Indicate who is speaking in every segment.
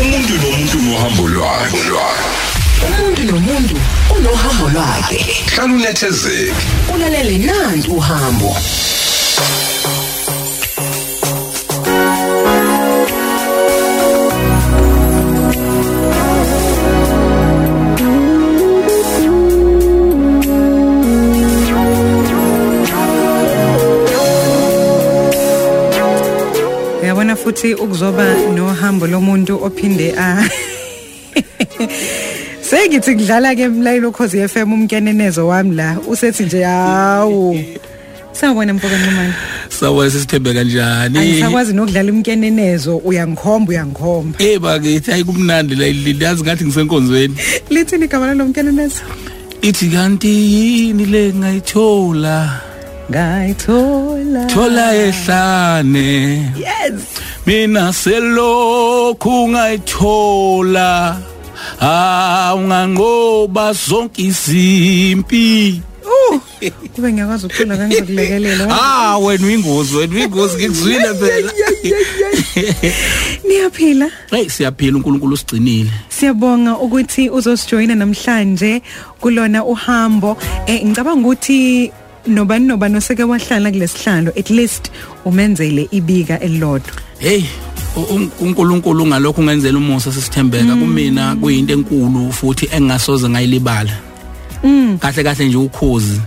Speaker 1: umuntu nomuntu nohambo lwakhe
Speaker 2: umuntu nomuntu unohambo lwakhe
Speaker 1: hlala unethezeke
Speaker 2: kulalele nanti uhambo
Speaker 3: uyabona futhi ukuzoba nohambo lomuntu ophinde a Sengithi kudlala ke mlayilo khozi FM umkenenezo wami la usethi nje hawu Sawona mpoka Nxumane
Speaker 4: sawona sesithembeka njani
Speaker 3: angisakwazi nokudlala umkenenezo uyangikhomba uyangikhomba
Speaker 4: Eh bakithi hayi kumnandi la liyazi ngathi ngisenkonzweni
Speaker 3: lithini igama lomkenenezo
Speaker 4: ithi kanti yini le ngayithola
Speaker 3: ngayithola
Speaker 4: thola ehlane
Speaker 3: yes
Speaker 4: mina selokhu ngayithola awunganqoba zonke izimpi
Speaker 3: uh kube ngiyakwazi ukucula kangizokulekelela
Speaker 4: ah wena uyingozi wena uyingozi ngikuzwile phela
Speaker 3: niyaphila
Speaker 4: hey siyaphila uNkulunkulu usigcinile
Speaker 3: Siyabonga ukuthi uzosijoyina namhlanje kulona uhambo eh ngicabanga ukuthi nobani nobani oseke wahlala kulesihlalo at least umenzele ibika elilodwa
Speaker 4: hey u- un- uNkulunkulu ngalokho ungenzela umusa sisithembeka kumina kuyinto enkulu futhi engasoze ngayilibala kahle kahle nje ukhozi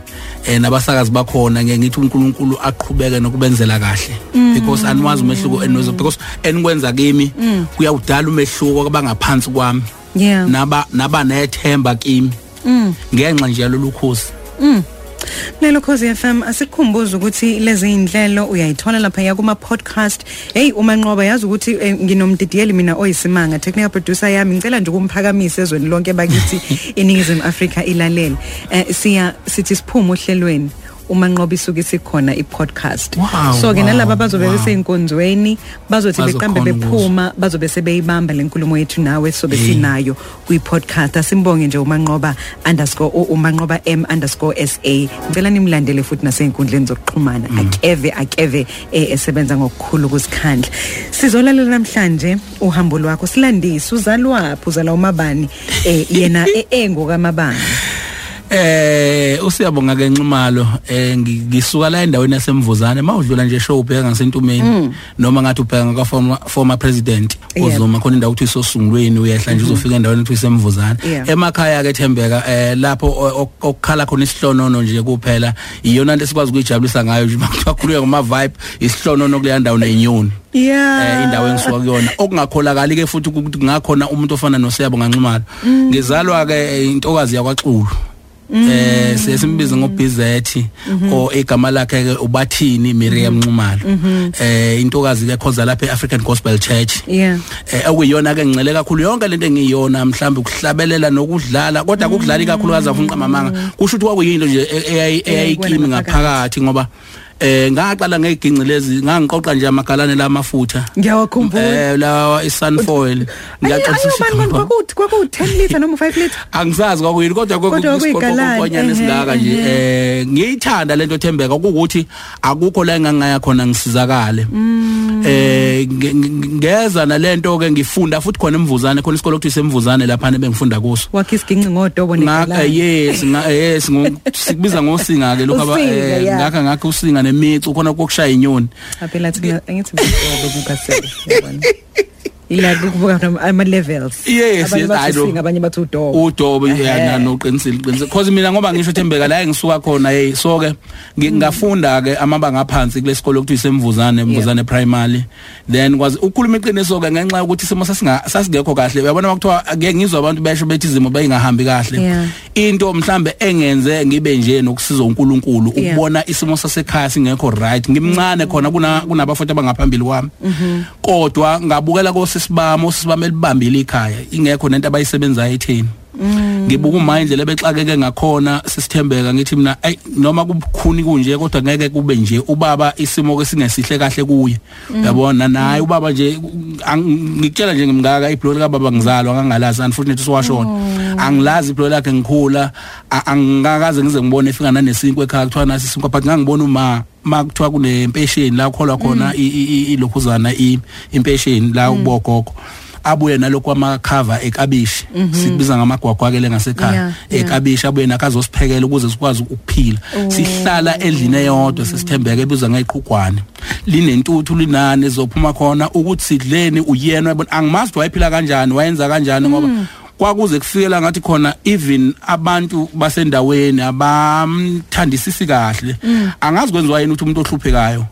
Speaker 4: eh nabasakazi bakhona ngeke ngithi uNkulunkulu aqhubeke nokubenzela kahle because anwazi umehluko enwezo because enikwenza kimi kuyawudala umehluko kwabangaphansi kwami
Speaker 3: yeah
Speaker 4: naba naba nethemba kimi ngenxa nje yalolu khozi
Speaker 3: Lelo Khosi FM asikhumbuza ukuthi lezi indlelo uyayithola lapha ya kuma podcast. Hey uma nqoba yazi ukuthi eh, nginomdidiyeli mina oyisimanga technical producer yami ngicela nje ukumphakamisa ezweni lonke bakithi eningizimu Afrika ilalele. Eh siya sithi siphuma ohlelweni uma nqoba isuke sikhona i-podcast.
Speaker 4: Wow,
Speaker 3: so ke
Speaker 4: wow,
Speaker 3: nalaba bazobe
Speaker 4: wow.
Speaker 3: besenkonzweni bazothi
Speaker 4: Bazokhona
Speaker 3: beqambe bephuma bazobe sebeyibamba lenkulumo yethu nawe sobe
Speaker 4: Hey.
Speaker 3: sina nayo kwi-podcast asimbonge nje umanqoba underscore u- umanqoba m underscore sa ngicela nimlandele futhi nasey'nkundleni zokuxhumana
Speaker 4: Mm.
Speaker 3: akeve akeve eh, esebenza ngokukhulu ukuzikhandla sizolalela namhlanje uhambo lwakho silandise uzalwaphi uzala umabani um yena engokamabani
Speaker 4: Eh usiyabonga ke Nxumalo eh ngi- ngisuka la endaweni yasemvuzane mawudlula nje show ubheka ngasentumeni noma ngathi ubheka ngaka former former president
Speaker 3: Yebo.
Speaker 4: uzoma khona indawo ukuthi isosungulweni uyehla nje uzofika endaweni ukuthi isemvuzane
Speaker 3: Yeah.
Speaker 4: emakhaya ke Thembeka eh lapho o- o- okukhala khona isihlonono nje kuphela iyona into sikwazi ukujabulisa ngayo nje makukhuluya ngama vibe isihlonono kule ndawo nenyoni eh indawo engisuka kuyona okungakholakali ke futhi ukuthi kungakhona umuntu ofana noSebo nganxumalo ngizalwa ke eh, intokazi yakwaXulu eh sesimbiza ngoBizethi o igama lakhe ke ubathini Miriam Nxumalo eh intokazi ke khoza lapha eAfrican Gospel Church
Speaker 3: yeah
Speaker 4: eh okuyiyona ke ngicele kakhulu yonke lento engiyona mhlawumbe ukuhlabelela nokudlala kodwa ukudlala kakhulukazi afunqa mamanga kusho ukuthi kwakuyinto nje e- eyayi- eyayikimi ngaphakathi ngoba eh ngaqala ngeginci lezi ngangiqoqa nje amagalane lamafutha
Speaker 3: ngiyawakhumbula
Speaker 4: eh lawa isunfoil
Speaker 3: ngaxoxisa kwaku-ten litre noma u-five litre
Speaker 4: angisazi kwakuyini kodwa
Speaker 3: Kodwa kwakuyigalane,
Speaker 4: kokonyana
Speaker 3: ehe,
Speaker 4: esilaka nje eh ngiyithanda lento thembeka ukuthi akukho la engangaya khona ngisizakale
Speaker 3: Mm.
Speaker 4: eh nge- nge- ngeza nalento ke ngifunda futhi khona emvuzane khona isikole okuthi semvuzane lapha bengifunda kuso
Speaker 3: wakha isiginci ngodobo
Speaker 4: ngaka
Speaker 3: negalani
Speaker 4: yes nga yes ngo- sikubiza ngosinga ke lokho aba-
Speaker 3: Usinga,
Speaker 4: eh,
Speaker 3: yeah.
Speaker 4: ngakha ngakho usinga nemicu khona kokushaya inyoni
Speaker 3: aphela thina angithi ngiyabona ila kubuka ama levels
Speaker 4: Yes, yes,
Speaker 3: abanye
Speaker 4: I know.
Speaker 3: bathi singa abanye bathi udobo
Speaker 4: udobo yanano uqinisile uqinisile because mina ngoba ngisho Thembeka la engisuka khona hey so ke ngi- ngafunda ke amabanga aphansi kule sikole okuthi semvuzane mvuzane primary then kwazi ukhuluma iqiniso ke ngenxa ukuthi simo sasinga sasigekho kahle uyabona makuthiwa ngeke ngizwe abantu besho bethi izimo bayingahambi
Speaker 3: Yeah.
Speaker 4: kahle into mhlambe engenze ngibe nje nokusiza uNkulunkulu
Speaker 3: Yeah.
Speaker 4: ukubona isimo sasekhaya singekho right ngimncane khona kuna kunabafuthi abangaphambili kwami kodwa ngabukela kosisibamo osisibamo elibambile ikhaya ingekho nento abayisebenzayo etheni ngibuka uma indlela bexakeke ngakhona sisithembeka ngithi mina ay noma kubukhuni kunje kodwa ngeke kube nje ubaba isimo ke singesihle kahle kuye uyabona naye ubaba nje ang- ngikutshela nje ngimngaka ibhloli kababa ngizalwa ngangalazi unfortunately siwashona
Speaker 3: Oh.
Speaker 4: angilazi ibhloli lakhe ngikhula a- angikaze ngize ngibone efika nanesinkwe ekhaya kuthiwa nasi isinkwe but ngangibona uma ma kuthiwa
Speaker 3: Mm.
Speaker 4: kunempesheni la kukholwa khona i- i- i- ilokhuzana i- impesheni la ubogogo abuye nalokho amakhava ekabishi sikubiza ngamagwagwakele
Speaker 3: Mhm. Yeah,
Speaker 4: ngasekhaya
Speaker 3: yeah.
Speaker 4: ekabishi abuye nakazosiphekela ukuze sikwazi ukuphila
Speaker 3: Oh.
Speaker 4: sihlala endlini eyodwa sesithembeke ebizwa ngeqhugwane linentuthu linani ezophuma khona ukuthi sidleni uyena yabona angimazi ukuthi wayephila kanjani wayenza kanjani ngoba
Speaker 3: Hmm.
Speaker 4: kwakuze kufikela ngathi khona even abantu basendaweni abamthandisisi kahle
Speaker 3: Hmm.
Speaker 4: angazi kwenziwa yini ukuthi umuntu ohluphekayo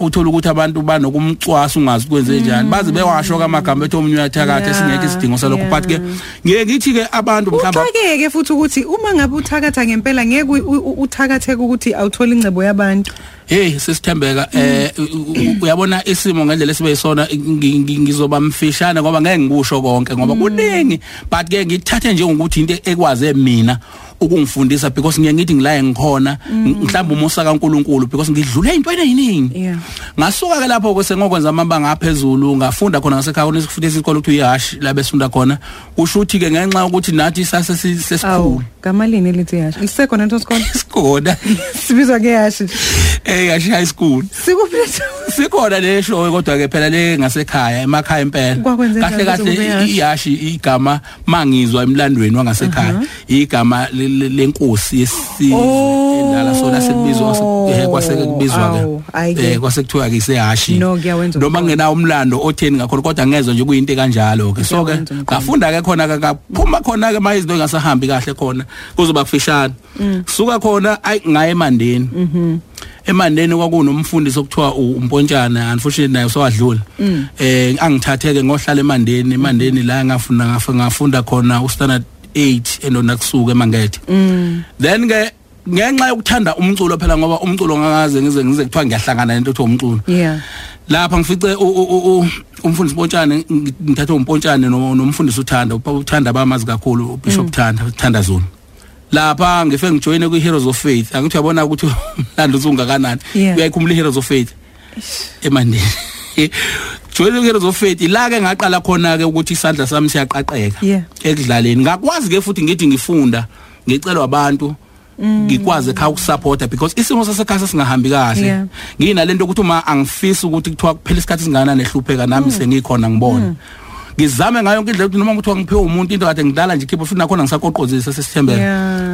Speaker 4: uthola ukuthi abantu banokumcwasa ungazi kwenze njani baze bewasho kamagama ethi omunye uyathakatha
Speaker 3: Hmm. Yeah,
Speaker 4: singekho isidingo salokho
Speaker 3: yeah.
Speaker 4: but ke ngeke ngithi ke abantu mhlawumbe
Speaker 3: uxakeke futhi ukuthi uma ngabe uthakatha ngempela ngeke u- u- uthakatheke ukuthi awutholi ingcebo yabantu
Speaker 4: hey sisithembeka eh u- u- uyabona isimo ngendlela sibe yisona ngi- ngi- ngizoba mfishane ngoba ngeke ngikusho konke ngoba
Speaker 3: Mm.
Speaker 4: kuningi but ke ngithathe njengokuthi into ekwaze mina ukungifundisa because ngeke ngithi ngilaye ngikhona
Speaker 3: Mm.
Speaker 4: mhlawumbe umusa kaNkuluNkulu because ngidlule into eyiningi
Speaker 3: Yeah.
Speaker 4: ngasuka ke lapho ke sengokwenza amabanga aphezulu ngafunda khona ngasekhaya kunesikufunda isikole ukuthi uyahash labesifunda khona kusho ukuthi ke ngenxa ukuthi nathi sase sesikhulu
Speaker 3: awu ngamalini elithi yasho lisekhona into sikole
Speaker 4: isikole
Speaker 3: sibizwa ngeyashi
Speaker 4: eh yashi high school
Speaker 3: sikuphi
Speaker 4: sikhona le show kodwa ke phela le ngasekhaya emakhaya empela
Speaker 3: Kwakwenzeka ukuthi
Speaker 4: kahle
Speaker 3: kube yashi.
Speaker 4: iyashi igama mangizwa emlandweni wangasekhaya igama le- le- lenkosi yesizwe
Speaker 3: Oh.
Speaker 4: endala sona sekubizwa eh, kwaseke kubizwa
Speaker 3: Awu, hhayi
Speaker 4: ke
Speaker 3: ke.
Speaker 4: eh kwasekuthiwa ke isehashi
Speaker 3: No, kuyawenza
Speaker 4: noma
Speaker 3: umqondo.
Speaker 4: ngenawo umlando otheni ngakhona kodwa ngezwe nje kuyinto kanjalo ke so ke
Speaker 3: Kuyawenza umqondo.
Speaker 4: ngafunda ke khona ke ngaphuma khona ke mayizinto engasahambi kahle khona kuzoba kufishane suka khona ayi ngaye emandeni emandeni kwakunomfundisi okuthiwa u- umpontshana unfortunately naye sowadlula eh angithatheke ngohlala emandeni emandeni la ngafunda ngafa- ngafunda khona u standard 8 endona kusuka emangethe
Speaker 3: Mm,
Speaker 4: then ke ngenxa yokuthanda umculo phela ngoba umculo ngakaze ngize ngize kuthiwa ngiyahlangana nento ethi umculo
Speaker 3: yeah
Speaker 4: lapha ngifice u- u- u- umfundisi Mpontshane ngi- ngithathe umpontshane no- nomfundisi uthanda upa- uthanda bamazi kakhulu
Speaker 3: Mm.
Speaker 4: ubishop Thanda Thanda Zulu lapha ngife ngijoine ku Heroes of Faith angithi uyabona ukuthi umlando uzungakanani
Speaker 3: Yeah.
Speaker 4: uyayikhumbula Heroes of Faith emandeni joine ku Heroes of Faith la ke ngaqala khona ke ukuthi isandla sami siyaqaqeka
Speaker 3: Yeah.
Speaker 4: ekudlaleni ngakwazi ke futhi ngithi ngifunda ngicelwa abantu
Speaker 3: Mm.
Speaker 4: ngikwazi ekhaya ukusupporta because isimo sasekhaya singahambi
Speaker 3: Yeah.
Speaker 4: kahle nginalento ukuthi uma angifisi ukuthi kuthiwa kuphela isikhathi singanani ehlupheka
Speaker 3: Mm.
Speaker 4: nami sengikhona ngibona ngizame ngayo yonke indlela ukuthi noma kuthiwa ngiphiwe umuntu into kade ngidala nje ikhipho futhi nakhona ngisakoqozisa
Speaker 3: Yeah.
Speaker 4: sesithembele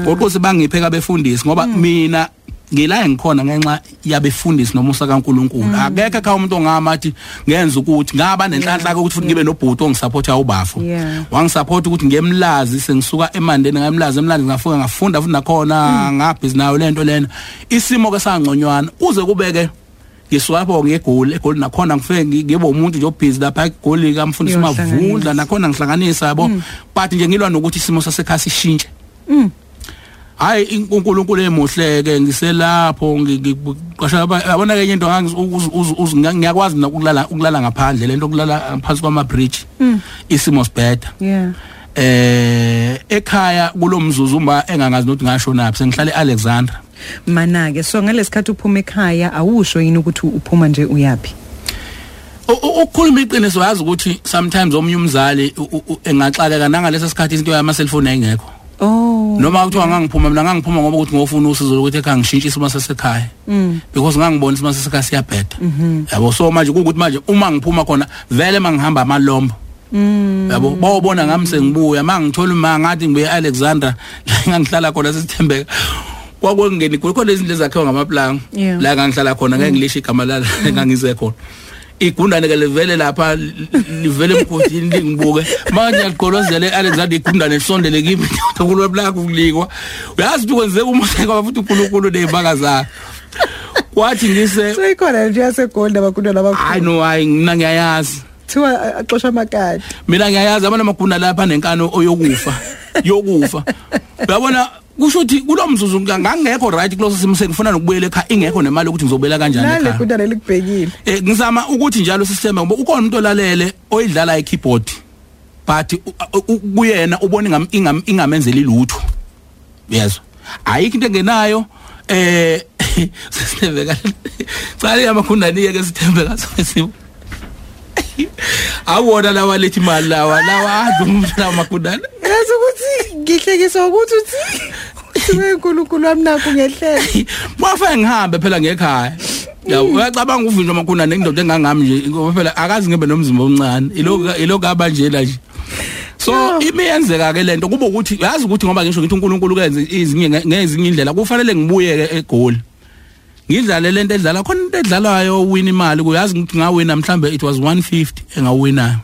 Speaker 4: qoqozi bangiphe kabefundisi ngoba mina ngila engikhona ngenxa yabefundisi nomusa kaNkuluNkulu akekho ekhaya umuntu ongama athi ngenza ukuthi ngaba nenhlanhla ukuthi futhi ngibe nobhuti ongisupporta ubafo
Speaker 3: Yeah.
Speaker 4: wangisupport ukuthi ngiyemlazi sengisuka emandeni ngayemlazi emlazi ngafika ngafunda futhi nakhona ngabhizi nayo lento lena isimo ke sangconywana kuze kubeke ngiswapho ngegoli egoli nakhona ngifike ngi- ngibe umuntu nje obhizi lapha egoli kamfundisi
Speaker 3: Uyohlanganisa.
Speaker 4: mavundla nakhona ngihlanganisa yabo but nje ngilwa nokuthi isimo sasekhaya sishintshe hayi inkulunkulu emuhle ke ngiselapho ngiqasha yabona ke enye into ngangi- uz- uz- uz- ngiyakwazi nokulala ukulala ngaphandle lento okulala phansi kwama bridge isimo sibhedda
Speaker 3: yeah
Speaker 4: eh ekhaya kulomzuzu uma engangazi ukuthi ngashona phi sengihlale Alexandra
Speaker 3: mana ke so ngalesikhathi uphuma ekhaya awusho yini ukuthi uphuma nje uyapi
Speaker 4: U- u- ukukhuluma iqiniso yazi ukuthi sometimes omunye umzali u- u- engaxakeka nangaleso sikhathi into yama cellphone ayingekho
Speaker 3: oh
Speaker 4: noma kuthiwa ngangiphuma mina ngangiphuma ngoba ukuthi ngofuna usizo lokuthi ekhaya ngishintshe isimo sasekhaya
Speaker 3: mm,
Speaker 4: because ngangibona isimo sasekhaya siyabheda yabo so manje kuwukuthi manje uma ngiphuma khona vele mangihamba amalombo
Speaker 3: mm.
Speaker 4: yabo bawubona ngami sengibuya mangithola uma ngathi ngibuye Alexander la ngangihlala khona sesithembeka kwakungeni khona lezi ndlela zakhe ngamaplanga
Speaker 3: Yeah.
Speaker 4: la ngangihlala khona ngeke ngilishe igama la ngangize khona igundane ke livele lapha li- livele emgodini lingibuke manje ngiyaqolozela Alexander igundane lisondele kimi kulwe black ukulikwa uyazi ukuthi kwenzeka umuseka futhi uNkulunkulu nezibaka zakhe wathi ngise
Speaker 3: seyikhona nje yasegoli abakuntwana
Speaker 4: hayi no hayi mina ngiyayazi
Speaker 3: kuthiwa axosha amakati
Speaker 4: mina ngiyayazi abana maguna lapha nenkano oyokufa yokufa uyabona kusho ukuthi kulomzuzu ngangekho right kuloso simo sengifuna nokubuyela ekhaya ingekho nemali ukuthi ngizobuyela kanjani
Speaker 3: nale
Speaker 4: ekhaya
Speaker 3: kuntwana likubhekile
Speaker 4: eh ngizama ukuthi njalo sisithembe ngoba ukhona umuntu olalele oyidlala ikeyboard but u- u- u- kuyena ubona ingam- ingam- ingamenzeli lutho yezwa ayikho into engenayo eh sisithembeka cala yamakhundani yeke sithembeka sesibo awona lawa lethi imali lawa lawa adla umuntu lawa makhundani
Speaker 3: yazi ukuthi ngihlekiswa ukuthi uthi uthiwe uNkulunkulu wami nakho ngehlela
Speaker 4: kwafa ngihambe phela ngekhaya Ya uyacabanga uvinjwa makhona nendoda engangami nje ngoba phela akazi ngibe nomzimba omncane iloko iloko abanjela nje So imiyenzeka ke lento kuba ukuthi yazi ukuthi ngoba ngisho ngithi uNkulunkulu kenze izinye ngezinye indlela kufanele ngibuye ke egoli ngidlale lento edlala khona into edlalayo win imali kuyazi ngithi ngawina mhlambe it was 150 engawinayo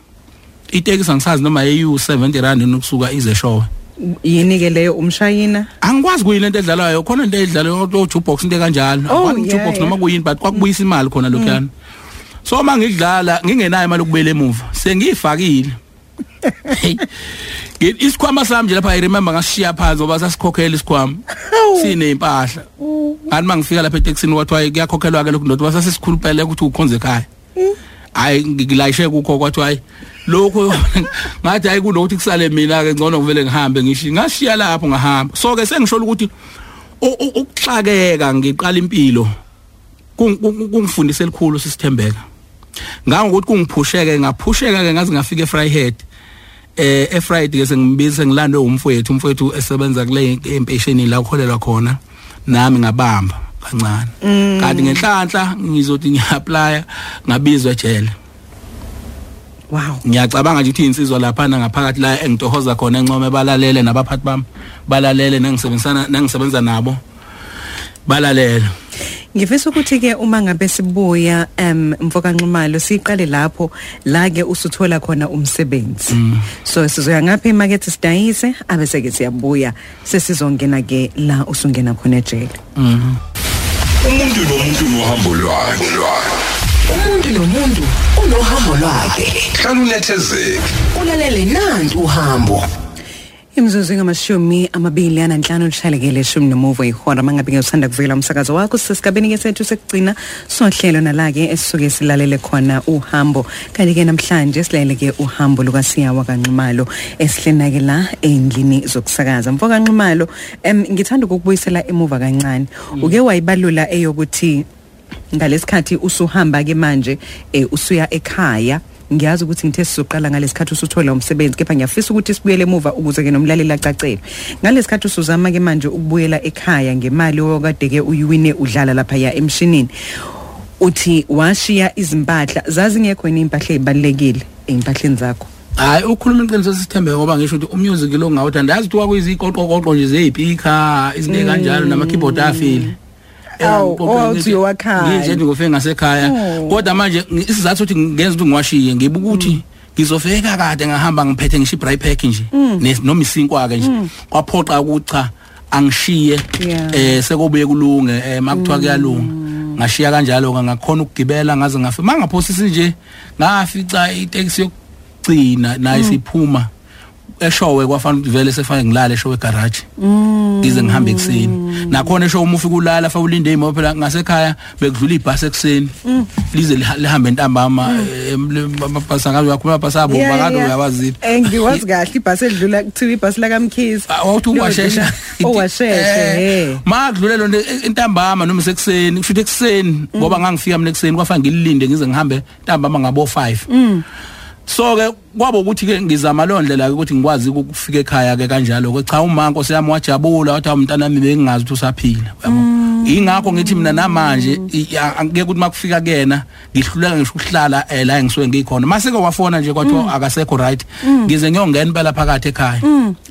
Speaker 4: itekisi angisazi noma yeyu 70 rand nokusuka ize showe
Speaker 3: yini ke leyo umshayina
Speaker 4: angikwazi kuyini lento edlalayo khona into edlalayo o jukebox into kanjalo Angikwazi
Speaker 3: Oh, yeah, Mm.
Speaker 4: jukebox
Speaker 3: yeah.
Speaker 4: noma kuyini but kwakubuyisa imali khona lokhana so mangidlala ngingenayo imali ukubuyela emuva sengiyifakile Hey. Ngi- isikhwama sami nje lapha i remember ngasishiya phansi ngoba sasikhokhela isikhwama sinempahla ngathi mangifika lapha eTexini kwathiwa kuyakhokhelwa ke lokhu ndoda basasesikhulupele ukuthi ukhonze ekhaya hayi ngilayishe kukho kwathiwa hayi lokhu ngathi hayi kunokuthi kusale mina ke ngcono ngivele ngihambe ngishi ngashiya lapho ngahamba so ke sengisho ukuthi u- u- ukuxakeka ngiqala impilo kung- kung- kungifundise elikhulu sisithembeka ngangokuthi kungiphusheke ngaphusheka ke ngaze ngafika eFryhead eh eFriday ke sengimbiza ngilandwe umfowethu umfowethu esebenza kule empesheni la ukholelwa khona nami ngabamba kancane kanti ngenhlanhla ngizothi ngiapply ngabizwa ejele
Speaker 3: wow
Speaker 4: ngiyacabanga nje ukuthi insizwa lapha ngaphakathi la engitohoza khona encome balalele nabaphathi bami balalele nangisebenzisana nangisebenza nabo balalele
Speaker 3: Ngifisa ukuthi ke uma ngabe sibuya em mfokanxumalo siqale lapho la ke usuthola khona umsebenzi.
Speaker 4: Mm.
Speaker 3: So sizoya ngapha emarket sidayise abese ke siyabuya sesizongena ke la usungena khona ejele.
Speaker 1: umuntu nomuntu nohambo lwakhe
Speaker 2: umuntu nomuntu unohambo lwakhe
Speaker 1: hlalunethezeke
Speaker 2: ulalele nantu uhambo
Speaker 3: Imzuzu ngamashumi amabili ananhlanu lishalekele shumi nomuvo ihora mangabe ngiyosanda kuvela umsakazo wakho sesigabeni ke sethu sekugcina sohlelo nalake esisuke silalele khona uhambo kanti ke namhlanje silalele ke uhambo lukasiyawa kanximalo esihlena ke la endlini zokusakaza mfo kanximalo em ngithanda ukukubuyisela emuva kancane uke wayibalula eyokuthi ngalesikhathi usuhamba ke manje eh, usuya ekhaya ngiyazi ukuthi ngithe sizoqala ngalesikhathi usuthola umsebenzi kepha ngiyafisa ukuthi sibuyele emuva ukuze ke nomlaleli acacele ngalesikhathi usuzama ke manje ukubuyela ekhaya ngemali okade ke uyiwine udlala lapha ya emshinini uthi washiya izimpahla zazingekho yini impahla ezibalekile ezimpahleni zakho
Speaker 4: hayi ukhuluma iqiniso sithembeke ngoba ngisho ukuthi umusic lo ngawuthanda yazi kuthiwa kuyiziqoqoqoqo nje zeyipika izinto kanjalo nama-keyboard afile
Speaker 3: Awu, owawuthi uyowakhaya.
Speaker 4: ngizethi ngofe ngasekhaya
Speaker 3: Oh.
Speaker 4: kodwa manje ngi- isizathu sokuthi ngenza ukuthi ngiwashiye ngibe ukuthi ngizofeka kade ngahamba ngiphethe ngisho i-bri pack nje ne- noma isinkwa-ke nje kwaphoqa ukuthi cha angishiye
Speaker 3: Yeah.
Speaker 4: eh sekubuye kulunge eh makuthiwa kuyalunga ngashiya kanjalo ke ngakhona ukugibela ngaze ngafika mangaphosisi nje ngafica iteksi yokugcina nayo siphuma eshowe kwafanele ukuthi vele sefanele ngilale eshowe garage ngize ngihambe ekseni nakhona eshowe uma ufika ulala fa ulinde imoto phela ngasekhaya bekudlula ibhasi ekseni lize liha- lihambe ntambama eh, amabhasi angazi uyakhuluma amabhasi abo bakade uyawazini
Speaker 3: Engiwazi Eh, kahle ibhasi edlula kuthiwa ibhasi la kamkhize.
Speaker 4: awuthi ungashesha Eh,
Speaker 3: Owashesha hey.
Speaker 4: madlule lonto intambama e, noma sekuseni kusho ukuthi ekuseni ngoba ngangifika mina ekuseni kwafa ngilinde ngize ngihambe ntambama ngabo 5 so ke kwabo ukuthi ke ngizama londle la ukuthi ngikwazi ukufika ekhaya ke kanjalo ke cha umanko siyami wajabula wathi umntana wami bengingazi ukuthi usaphila yabo ingakho ngithi mina namanje i- a- angeke ukuthi makufika kuyena ngihluleka ngisho ukuhlala eh, la engisuke ngikhona mase ke wafona nje kwathiwa akasekho right ngize ngiyongena impela phakathi ekhaya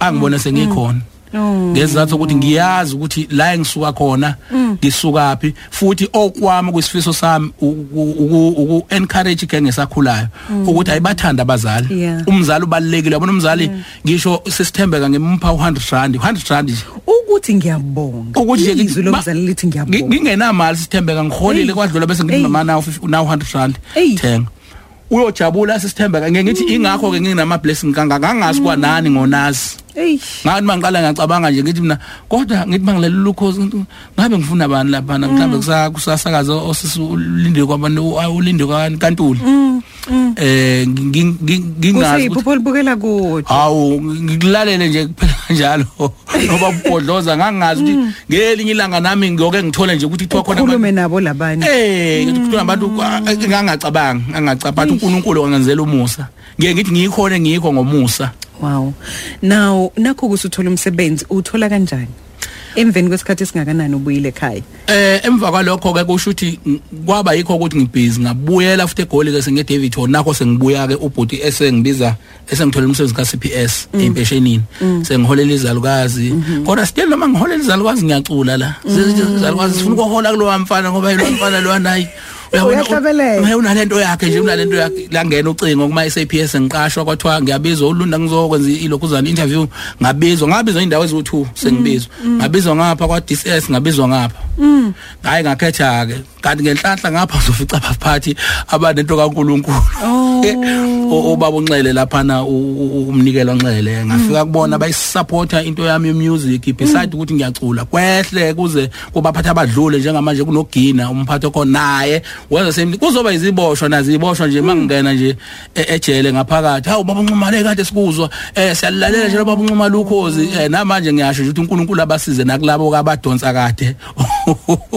Speaker 4: angibone sengikhona ngezizathu ukuthi ngiyazi ukuthi la engisuka khona
Speaker 3: Mm.
Speaker 4: ngisukaphi futhi okwami kwisifiso sami uku encourage ke ngesakhulayo ukuthi ayibathanda abazali
Speaker 3: Mm. Yeah.
Speaker 4: umzali ubalekile yabona umzali ngisho sisithembeka ngimpha u100 rand 100 rand nje
Speaker 3: ukuthi ngiyabonga
Speaker 4: nje
Speaker 3: izwi
Speaker 4: ngi- ba-
Speaker 3: lomzali lithi
Speaker 4: ngi-
Speaker 3: ngiyabonga
Speaker 4: ngingenamali sithembeka ngiholile
Speaker 3: Eyi.
Speaker 4: kwadlula bese
Speaker 3: Eyi.
Speaker 4: ngithi mama nawu 50 nawu 100 rand
Speaker 3: Eyi.
Speaker 4: thenga uyojabula sisithembeka ngeke ngithi
Speaker 3: Mm.
Speaker 4: ingakho ke nginama blessing kanga ngangazi kwanani ngonazi
Speaker 3: Ey.
Speaker 4: ngathi mangiqala ngiyacabanga nje ngithi mina kodwa ngithi mangilela lukhozi ngabe ngifuna bani lapha mhlawumbe kusa- kusasakaza osisi ulinde kwabantu ayi, ulinde kwantuli eh ngi- ngi- ngingazi ukuthi
Speaker 3: Useyiphupho libukela kodwa.
Speaker 4: hawu ngikulalele nje kuphela kanjalo ngoba ubhodloza ngangazi ukuthi ngelinye ilanga nami ngiyoke ngithole nje ukuthi kuthiwa khona abantu-
Speaker 3: Ukhulume nabo labanye.
Speaker 4: Eh ngikuthi abantu ngangacabanga ngangacabanga uNkulunkulu wangenzela umusa ngeke ngithi ngikhona ngikho ngomusa
Speaker 3: Wow. Now nakho kusuthola umsebenzi uthola kanjani? emveni kwesikhathi singakanani ubuyile ekhaya
Speaker 4: Eh emva kwalokho ke kusho ukuthi ng- kwaba yikho ukuthi ngibhizi ngabuyela futhi egoli ke senge David Hall nakho sengibuya ke ubhuti esengibiza esengithola umsebenzi ka CPS empeshenini sengiholela izalukazi kodwa still noma ngiholela izalukazi ngiyacula la izalukazi sifuna ukuhola kulowa mfana ngoba yilo mfana lo nayi
Speaker 3: Uyahlabelela.
Speaker 4: Uyawe unalento yakhe nje unalento yakhe langena ucingo kuma SAPS ngiqashwa kwathiwa ngiyabizwa ulunda ngizokwenza ilokhuzana interview ngabizwa ngabizwa indawo eziwu2 sengibizwa ngabizwa ngapha kwa DSS ngabizwa ngapha hayi ngakhetha ke kanti ngenhlanhla ngapha uzofica abaphathi abanento kaNkuluNkulu o- obaba unxele lapha na umnikelo onxele ngafika kubona bayisupporta into yami ye music beside ukuthi ngiyacula kwehle kuze kubaphatha abadlule njengamanje kunogina umphathi okho naye wenza same kuzoba iziboshwa naziboshwa nje mangingena nje e- ejele ngaphakathi hawu baba unxumale kade sikuzwa eh siyalalela nje baba unxuma lukhozi eh namanje ngiyasho nje ukuthi uNkulunkulu abasize nakulabo kabadonsa kade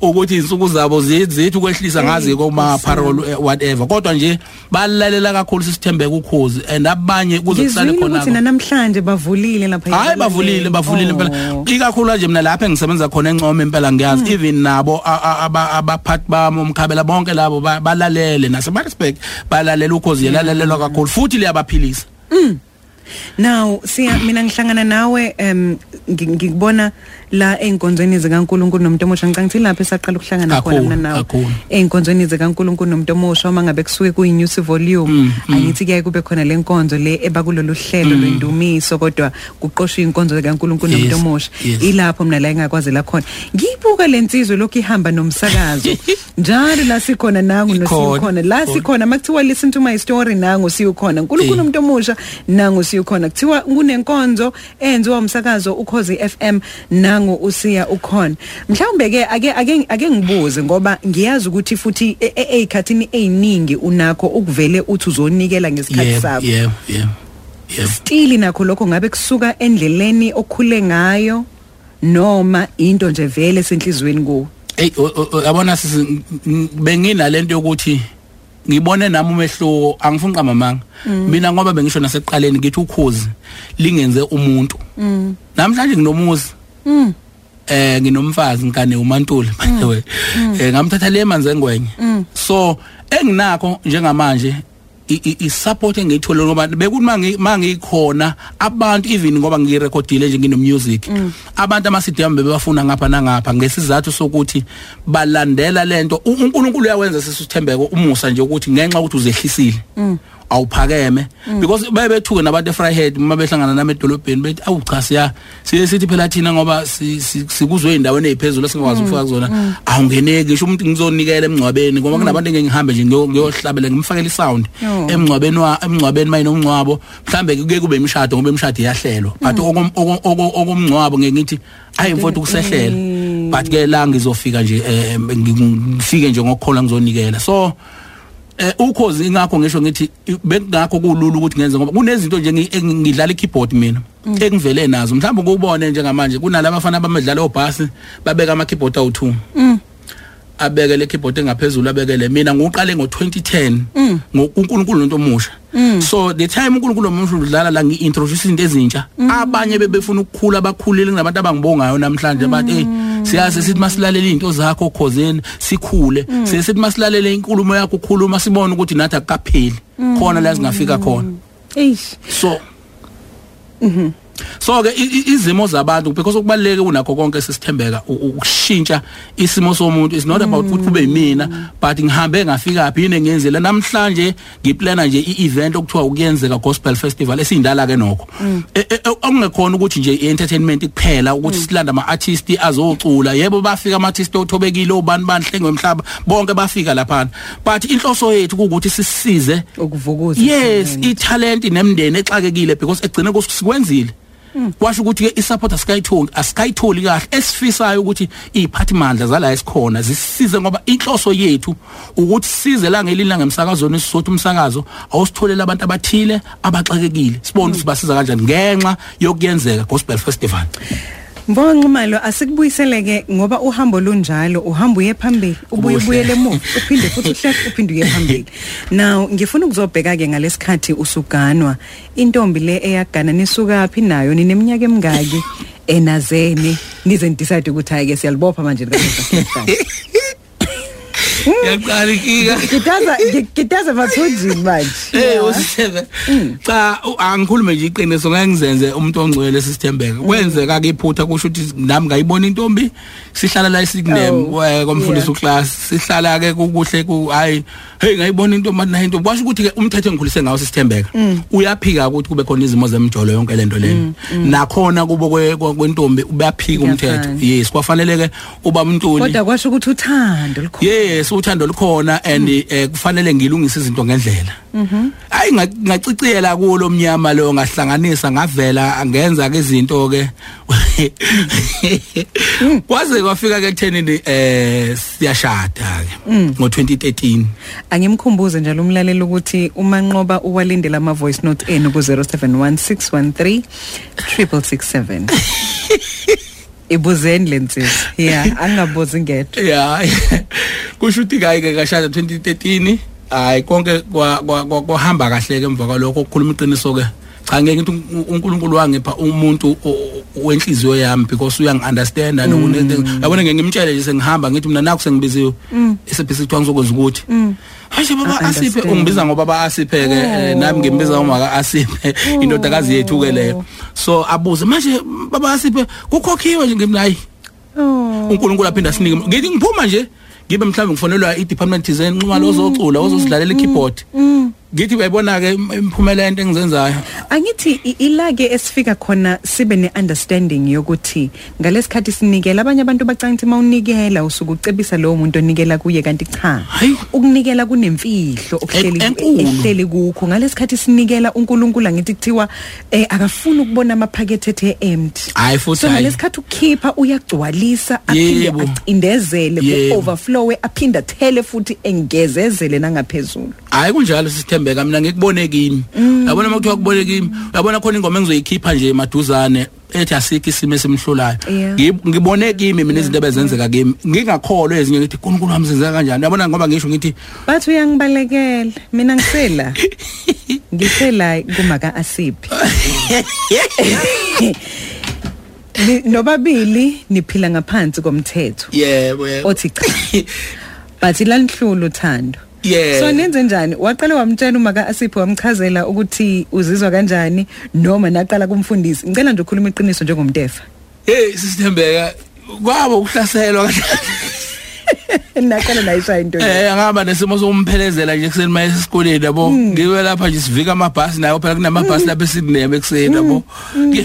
Speaker 4: ukuthi izinsuku zabo zizithi ukwehlisa ngazi koma parole eh, whatever kodwa nje balalela kakhulu sisithembeka ukhozi and abanye kuze kusale
Speaker 3: ngizwile
Speaker 4: khona
Speaker 3: ukuthi nanamhlanje bavulile lapha Oh.
Speaker 4: hayi bavulile bavulile impela ikakhulu nje mina lapha engisebenza khona encoma impela ngiyazi even nabo a- a- aba- abaphathi bami umkhabela bonke labo ba- balalele nasemarspec balalela ukhozi yelalelelwa kakhulu futhi liyabaphilisa
Speaker 3: now siya mina ngihlangana nawe um ngikubona la einkonzweni zikaNkuluNkulu nomuntu omusha ngicanga ukuthi lapha esaqala ukuhlangana khona
Speaker 4: Kakhulu,
Speaker 3: mina nawe
Speaker 4: kakhulu.
Speaker 3: einkonzweni zikaNkuluNkulu nomuntu omusha uma ngabe kusuke kuyinews volume
Speaker 4: Mm,
Speaker 3: angithi kuyaye kube khona lenkonzo le ebakulolu hlelo lwendumiso kodwa kuqoshwe inkonzo zikaNkuluNkulu nomuntu
Speaker 4: Yes,
Speaker 3: omusha
Speaker 4: yes.
Speaker 3: ilapho mina la engakwazela khona ngiyibuka lensizwe lokhu ihamba nomsakazo njalo la sikhona nangu
Speaker 4: Ikhona,
Speaker 3: nosikhona la
Speaker 4: ikhona.
Speaker 3: sikhona makuthiwa listen to my story nangu siyokhona
Speaker 4: Eh.
Speaker 3: uNkulunkulu umuntu omusha nangu siyokhona kuthiwa kunenkonzo enziwa umsakazo ukhozi FM nangu usiya ukhona mhlawumbe ke ake ake ake ngibuze ngoba ngiyazi ukuthi futhi e- e- ezikhathini eziningi unakho ukuvele uthi uzonikela ngesikhathi
Speaker 4: yeah
Speaker 3: sakho
Speaker 4: yeah yeah yeah
Speaker 3: stili nakho lokho ngabe kusuka endleleni okhule ngayo noma into nje vele senhlizweni kuwe
Speaker 4: Ey o- o- o- yabona sisi benginalento yokuthi ngibone nami umehluko angifuni qamamanga mina ngoba bengisho nasekuqaleni ngithi ukhozi lingenze umuntu namhlanje nginomuzi eh nginomfazi ngikane umantuli by the way eh ngamthatha le manzi engwenye so enginakho njengamanje i- i i support engiyithola ngoba bekuthi mangi mangikhona abantu even ngoba ngirecordile nje ngino music abantu ama CD yami bebafuna ngapha nangapha ngesizathu sokuthi balandela lento U- uNkulunkulu uyawenza sisithembeko umusa nje ukuthi ngenxa ukuthi uzehlisile awuphakeme because bayebethuke nabantu efryhead uma behlangana nami edolobheni bethi awu cha siya siye sithi phela thina ngoba si- si- sikuzwe endaweni eziphezulu singakwazi ukufika kuzona awungeneki ngisho umuntu ngizonikela emngcwabeni ngoba kunabantu engeke ngihambe nje ngiyo- ngiyohlabela ngimfakele isound
Speaker 3: Yo.
Speaker 4: emngcwabeni wa emngcwabeni mayinomngcwabo mhlambe kuke kube imishado ngoba imishado iyahlelwa but okom- oko- oko- okomngcwabo ngeke ngithi hayi mfowethu kusehlela but ke la ngizofika nje eh, ngi- ngifike nje ngokukhola ngizonikela so eh ukhozi ingakho ngisho ngithi i- bekungakho kulula ukuthi ngenze ngoba kunezinto nje engi- engi- ngidlala ikeyboard mina engivele nazo mhlawumbe ukubone njengamanje kunalabo abafana abamedlala obhasi babeka ama keyboard awu2 abeke le keyboard engaphezulu abeke le mina ngiqale ngo2010 ngokuNkulunkulu lonto omusha so the time uNkulunkulu omusha udlala la ngiintroduce into ezintsha abanye bebefuna ukukhula abakhulile kunabantu abangibongayo namhlanje bathi hey siyazi sithi masilalele into zakho khozeni sikhule sesithi masilalele inkulumo yakho ukhuluma sibone ukuthi nathi akapheli khona la singafika khona
Speaker 3: eish
Speaker 4: so so ke i- i- izimo zabantu because ukubaleke kunakho konke sisithembeka u- u- ukushintsha isimo somuntu is not about ukuthi kube yimina but ngihambe ngafika phi yini engiyenzile namhlanje ngiplana nje i-event okuthiwa ukuyenzeka gospel festival esindala ke nokho E- e- e- okungekhona ukuthi nje i-entertainment kuphela ukuthi silanda ama-artist azocula yebo bafika ama-artist othobekile obani banhle ngomhlaba bonke bafika lapha but inhloso yethu ukuthi sisize
Speaker 3: ukuvukuza
Speaker 4: yes italent nemndeni exakekile because egcina kusikwenzile kwasho ukuthi ke isupporter skayitholi asikayitholi kahle esifisayo ukuthi iziphathimandla zala esikhona zisize ngoba inhloso yethu ukuthi size la ngelina ngemsakazweni sisothu umsakazo awusitholele abantu abathile abaxakekile sibone ukuthi basiza kanjani ngenxa yokuyenzeka gospel festival
Speaker 3: Mbonga Nxumalo asikubuyiseleke ngoba uhambo lunjalo uhamba uye phambili
Speaker 4: Ubuhle.
Speaker 3: ubuye ubuyele emuva uphinde futhi uhleke uphinde uye phambili now ngifuna ukuzobheka ke ngalesikhathi usuganwa intombi le eyagana nisukaphi nayo nineminyaka emingaki enazene nize ndicide ukuthi hayi ke siyalibopha manje likaMr.
Speaker 4: yaqala inkinga
Speaker 3: Gidaza gidaza vathunjini manje.
Speaker 4: Eh usithebe. Cha u- angikhulume nje iqiniso ngeke ngizenze umuntu ongcwele sisithembeka.
Speaker 3: Mm.
Speaker 4: Kwenzeka ke iphutha kusho ukuthi nami ngayibona intombi sihlala la isignem
Speaker 3: Oh,
Speaker 4: komfundisi
Speaker 3: yeah.
Speaker 4: uclass sihlala ke kukuhle ku hayi hey ngayibona intombi manje nayo intombi kwasho ukuthi ke umthetho engikhulise ngawo sisithembeka.
Speaker 3: Mm.
Speaker 4: Uyaphika ukuthi kube khona izimo zemjolo yonke lento leni.
Speaker 3: mm.
Speaker 4: Nakhona kubo kwe- kwe- kwentombi uyaphika umthetho.
Speaker 3: Kuyafana.
Speaker 4: Yes kwafaneleke uba umntuli.
Speaker 3: Kodwa kwasho ukuthi uthando likhona.
Speaker 4: yes uthando lukhona and eh, kufanele ngilungise izinto ngendlela hayi nga- ngaciciyela kulo mnyama lo ngahlanganisa ngavela ngenza ke izinto ke kwaze kwafika ke kuthenini eh siyashada ke ngo2013
Speaker 3: Angimkhumbuze njalo umlaleli ukuthi umanqoba uwalindela ama voice note enu ku 071613 667. Ibuzeni lensizwe. Yeah, angabuzi ngedwa.
Speaker 4: yeah kusho ukuthi kayi ke kashada 2013 hayi konke kwa- kwa- kwa- kwahamba kahle ke emva kwalokho ukukhuluma iqiniso ke cha ngeke ngithi u- uNkulunkulu wangipha umuntu o- o- wenhliziyo yami because uyangiunderstand and une- yabona ngeke ngimtshele nje sengihamba ngithi mina nakho sengibiziwe isebhisi kuthiwa ngizokwenza ukuthi
Speaker 3: Mm.
Speaker 4: hayi baba asiphe
Speaker 3: Understand.
Speaker 4: ungibiza ngoba ba asiphe ke eh, nami ngimbiza uma ka asiphe indodakazi yethu ke leyo so abuze manje baba asiphe kukhokhiwe nje ngimnayi hayi
Speaker 3: Oh.
Speaker 4: uNkulunkulu aphinda sinike ngithi ngiphuma nje ngibe mhlawumbe ngifonelwa i-department design nxuma lo ozocula
Speaker 3: Mm,
Speaker 4: ozosidlalela i-keyboard ngithi uyayibona ke imphumela into engizenzayo
Speaker 3: Angithi i- ilake esifika khona sibe neunderstanding yokuthi ngalesikhathi sinikela abanye abantu bacanga ukuthi mawunikela usukucebisa lowo muntu onikela kuye kanti cha.
Speaker 4: Hayi.
Speaker 3: Ukunikela kunemfihlo okuhleli
Speaker 4: E-, enkulu.
Speaker 3: ehleli kukho ngalesikhathi sinikela uNkulunkulu ngithi kuthiwa eh akafuni ukubona amaphakethe ethe empty.
Speaker 4: Hhayi, futhi
Speaker 3: So
Speaker 4: hhayi.
Speaker 3: ngalesikhathi ukhipha uyagcwalisa aphinde
Speaker 4: Yebo.
Speaker 3: acindezele
Speaker 4: Yebo.
Speaker 3: ku overflow aphinda thele futhi engezezele nangaphezulu.
Speaker 4: hayi kunjalo sisithembeka mina ngikubone kimi
Speaker 3: Mm.
Speaker 4: yabona uma kuthiwa kubone kimi yabona khona ingoma engizoyikhipha nje maduzane ethi asikho isimo esimhlolayo
Speaker 3: Yeah.
Speaker 4: Ngib- ngibone kimi mina izinto ebezenzeka kimi ngingakholwa ezinye ngithi uNkulunkulu wami senzeka kanjani yabona ngoba ngisho ngithi
Speaker 3: bathi uyangibalekela mina ngisela ngisela kumaka asiphi Ni- nobabili niphila ngaphansi komthetho
Speaker 4: yebo yebo
Speaker 3: othi cha but ilanhlulu thando
Speaker 4: Yeah.
Speaker 3: so nenze njani waqala wamtshela umaka asiphi wamchazela ukuthi uzizwa kanjani noma naqala kumfundisi ngicela nje ukukhuluma iqiniso njengomntefa
Speaker 4: hey sisithembeka kwabo ukuhlaselwa kanjani
Speaker 3: naqala nayishaya into le.
Speaker 4: Eh ngaba nesimo sokumphelezela nje kuseni maye esikoleni yabo.
Speaker 3: Hmm.
Speaker 4: Ngiwe lapha nje sivika amabhasi nayo phela kunamabhasi lapha esidineme kuseni yabo.
Speaker 3: Hmm.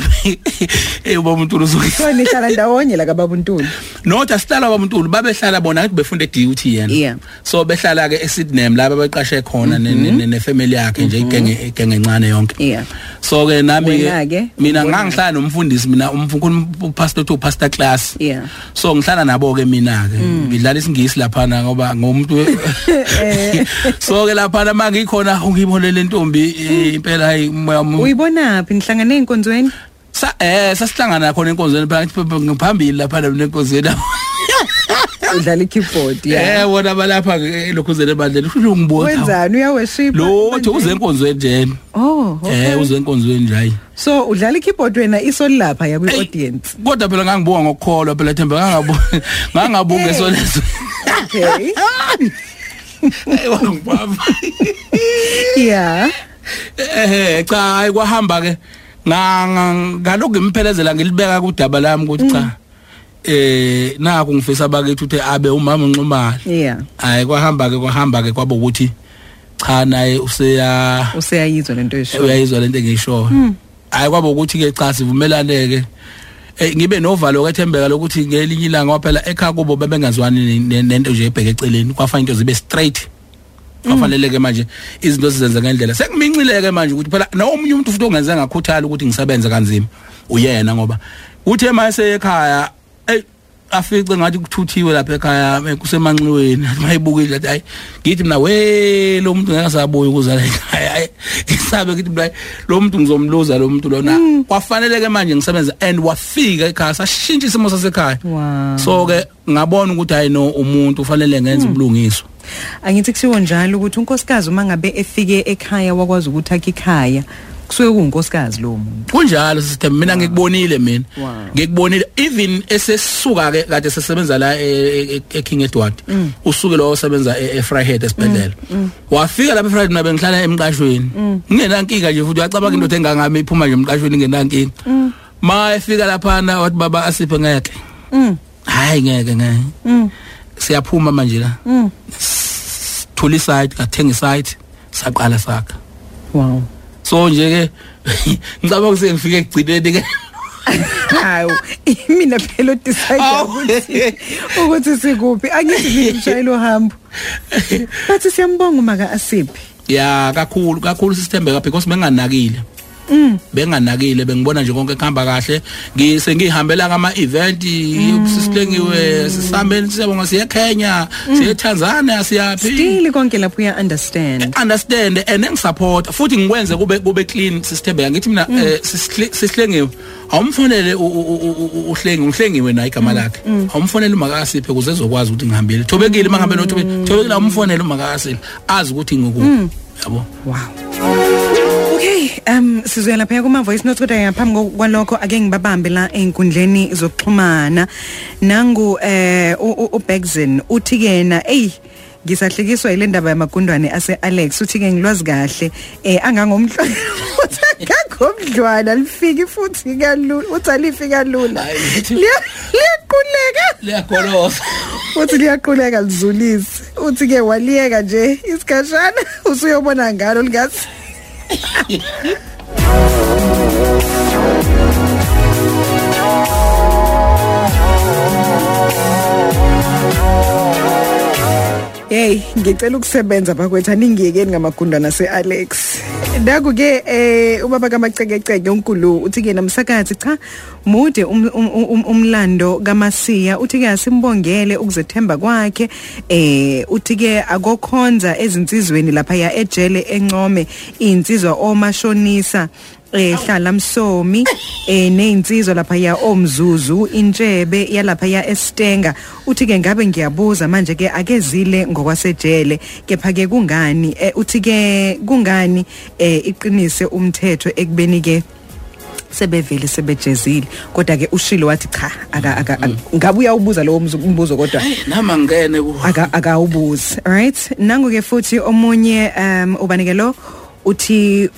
Speaker 4: Eh ubamuntu
Speaker 3: so
Speaker 4: uzokuthiwa
Speaker 3: nihlala ndawonye la kababuntulu
Speaker 4: Notha sihlala abamuntu babehlala bona ukuthi befunde duty
Speaker 3: Yeah.
Speaker 4: yena. So behlala ke eSydney laba beqashe khona ne- ne
Speaker 3: Mm-hmm.
Speaker 4: ne- family yakhe nje igenge igenge encane yonke.
Speaker 3: Yeah.
Speaker 4: So ke nami
Speaker 3: Wena-ke,
Speaker 4: ke mina
Speaker 3: ubona.
Speaker 4: ngangihlala nomfundisi mina umfunkulu pastor to pastor class.
Speaker 3: Yeah.
Speaker 4: So ngihlala nabo ke mina ke
Speaker 3: Mm.
Speaker 4: ngidlala isingisi lapha na ngoba
Speaker 3: Eh.
Speaker 4: ngomuntu So ke lapha manje ngikhona ungibonele intombi eh, impela hayi umoya omu-
Speaker 3: uyibona phi nihlangane enkonzweni
Speaker 4: sa eh sasihlangana khona enkonzweni phakathi ngiphambili lapha nenkonzweni.
Speaker 3: Eh. udlala i-keyboard yeah
Speaker 4: Eh wona balapha ke lokhuzele bandle usho ngibona.
Speaker 3: wenzani uyaweshipa
Speaker 4: Lo uthi uze enkonzweni nje.
Speaker 3: oh okay.
Speaker 4: Eh uze enkonzweni nje hayi.
Speaker 3: so udlala i-keyboard wena isoli lapha yakwi
Speaker 4: Eyi,
Speaker 3: audience
Speaker 4: kodwa phela ngangibonga ngokukholwa phela Themba ngangabonga ngangabonga
Speaker 3: Hey.
Speaker 4: solezo
Speaker 3: Eh.
Speaker 4: Eh.
Speaker 3: okay
Speaker 4: ayibamba
Speaker 3: yeah
Speaker 4: eh cha hayi kwahamba ke nga nga- ngalokhu ngimphelezela ngilibeka kudaba lami ukuthi cha eh naku ngifisa bakithi uthe abe umama unxumala
Speaker 3: yeah
Speaker 4: hayi kwahamba ke kwahamba ke kwabo ukuthi cha naye useya
Speaker 3: useyayizwa lento esho
Speaker 4: uyayizwa lento engishoyo hayi kwabo ukuthi ke cha sivumelaneke Eh ngibe novalo kwethembeka lokuthi ngelinye ilanga waphela ekhaya kubo bebengazwani ne- ne- nento nje ebheke eceleni kwafanele into zibe straight kwafaneleke Mm. manje izinto sizenze ngendlela sekumincileke manje ukuthi phela nomunye umuntu futhi ongenze ngakhuthala ukuthi ngisebenze kanzima uyena ngoba uthe mase ekhaya ey afice ngathi kuthuthiwe lapha ekhaya kusemanxiweni mayibukile athi hayi ngithi mina we lo muntu ngeke sabuye ukuzala ekhaya Hhayi, ngisabe ngithi mina lo muntu ngizomluza lo muntu lona kwafaneleke manje ngisebenza and wafika ekhaya sashintsha isimo sasekhaya
Speaker 3: Wow.
Speaker 4: so ke ngabona ukuthi hayi no umuntu ufanele ngenze ubulungiswa
Speaker 3: angithi kushiwo njalo ukuthi unkosikazi uma ngabe efike ekhaya wakwazi ukuthi akhe ikhaya kusuke kungunkosikazi lo muntu
Speaker 4: kunjalo sisithe mina ngikubonile mina
Speaker 3: Wow.
Speaker 4: ngikubonile even esesuka ke kade sesebenza la e- e- e King Edward usuke lo osebenza e e- Fryhead esibhedlela wafika lapha eFryhead mina bengihlala emqashweni ngingenankinga nje futhi uyacabanga into engangami iphuma nje emqashweni ngingenankinga ma efika lapha na wathi baba asiphe ngeke hayi ngeke ngeke siyaphuma manje la thula isite kathenga isite saqala sakha
Speaker 3: wow
Speaker 4: so nje ke ngicabanga ukuthi ngifike ekugcineni ke
Speaker 3: hawu mina phela odecide
Speaker 4: Awu.
Speaker 3: ukuthi ukuthi sikuphi angithi ngimshayela uhambo but siyambonga maka asiphi
Speaker 4: ya kakhulu kakhulu sisithembeka because benganakile Mm. benganakile bengibona nje konke kuhamba kahle ngisengihambela kama event sisihlengiwe sisambeni siyabonga siye Kenya siye Tanzania siyaphi
Speaker 3: still konke lapho uya understand
Speaker 4: understand and engisupport futhi ngikwenze kube kube clean sisithembeka ngithi mina eh, sisihle- sisihlengiwe awumfonele u- u- u- u- u- uhlengi uhlengiwe naye igama lakhe awumfonele umakasiphe kuze ezokwazi ukuthi ngihambile thobekile mangabe nothobekile thobekile awumfonele umakasiphe azi ukuthi ngikuphi yabo
Speaker 3: wow Okay, um sizoya lapha kuma voice note kodwa ngaphambi ko- kwalokho ake ngibabambe la einkundleni zokuxhumana. Nangu eh u- u- uBexen uthi yena ey ngisahlekiswa ile ndaba yamagundwane ase Alex uthi ke ngilwazi kahle eh angangomhlolo uthi akagomdlwana lifiki futhi kalula uthi alifika lula.
Speaker 4: Hayi, ngithi-
Speaker 3: Liya- Liyaquleka.
Speaker 4: liyagolosa
Speaker 3: uthi liyaquleka lizulise uthi ke waliyeka nje isigashana usuyobona ngalo lingathi Hey, ngicela ukusebenza bakwethu aningiyekeni ngamagundana seAlex. Naku ke eh ubaba kamacekeceke uNkulu uthi ke namsakathi cha mude um- um- um- umlando kaMasiya uthi ke asimbongele ukuzethemba kwakhe eh uthi ke akokhonza ezinsizweni lapha ya ejele encome insizwa omashonisa eh hlala msomi eh nezinsizwa lapha ya omzuzu intshebe yalapha ya estenga uthi ke ngabe ngiyabuza manje ke akezile ngokwasejele kepha ke kungani eh uthi ke kungani eh iqinise umthetho ekubeni ke sebevele sebejezile kodwa ke ushilo wathi cha aka aka ngabuya ubuza lowo mzu- umbuzo kodwa
Speaker 4: nama ngene ku
Speaker 3: aka akawubuzi right nangu ke futhi omunye um ubanike lo uthi